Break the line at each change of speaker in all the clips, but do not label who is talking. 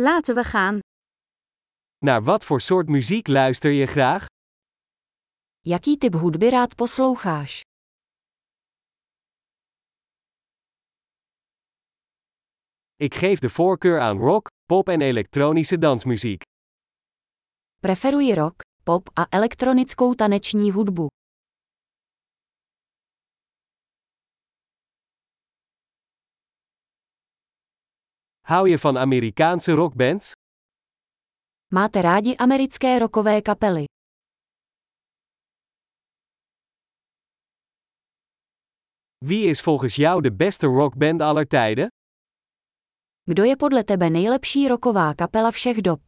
Laten we gaan.
Naar wat voor soort muziek luister je graag?
Jaký typ hudby rád posloucháš?
Ik geef de voorkeur aan rock, pop en elektronische dansmuziek.
Preferuji rock, pop a elektronickou taneční hudbu.
Hou je van Amerikaanse rockbands?
Máte rádi americké rockové kapely?
Wie is volgens jou de beste rockband aller tijden?
Kdo je podle tebe nejlepší roková kapela všech dob?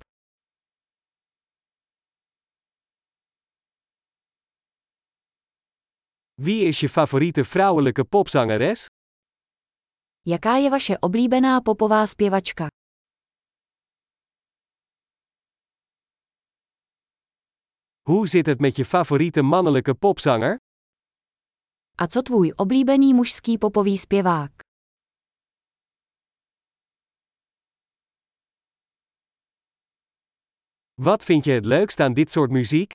Wie is je favoriete vrouwelijke popzangeres?
Jaká je vaše oblíbená popová zpěvačka?
Hoe zit het met je favoriete mannelijke popzanger?
A co tvůj oblíbený mužský popový zpěvák?
Wat vind je het leukst aan dit soort muziek?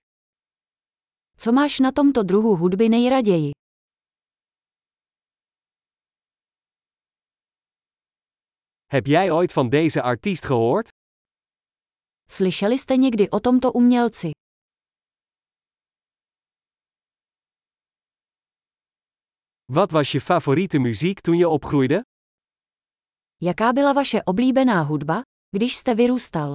Co máš na tomto druhu hudby nejraději?
Heb jij ooit van deze artiest gehoord?
Slyšeli jste někdy o tomto umělci?
Wat was je favoriete muziek toen je opgroeide?
Jaká byla vaše oblíbená hudba, když jste vyrůstal?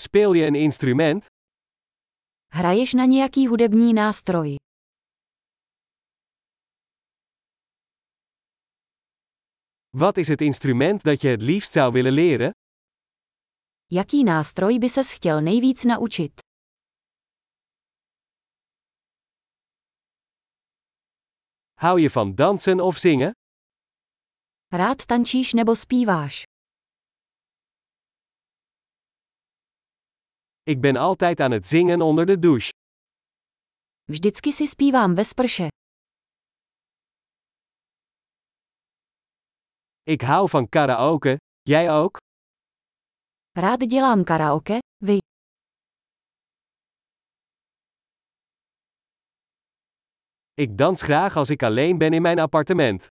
Speel je een instrument?
Hraješ na nějaký hudební nástroj?
Wat is het instrument dat je het liefst zou willen leren?
Jaký nástroj by ses chtěl nejvíc naučit?
Hou je van dansen of zingen?
Rád tančíš nebo zpíváš?
Ik ben altijd aan het zingen onder de douche.
Vždycky si zpívám ve sprše.
Ik hou van karaoke, jij ook?
Rád dělám karaoke, vy.
Ik dans graag als ik alleen ben in mijn appartement.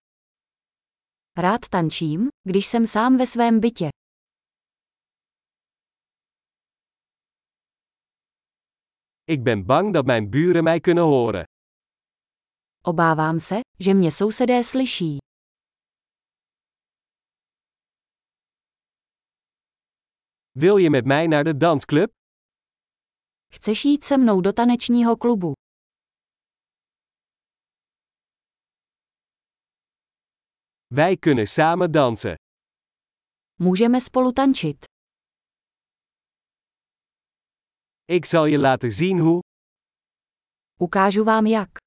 Rád tančím, když jsem sám ve svém bytě.
Ik ben bang dat mijn buren mij kunnen horen.
Obávám se, že mě sousedé slyší.
Wil je met mij naar de dansclub?
Chceš jít se mnou do tanečního klubu?
Wij kunnen samen dansen.
Můžeme spolu tančit.
Ik zal je laten zien hoe.
Ukážu vám jak.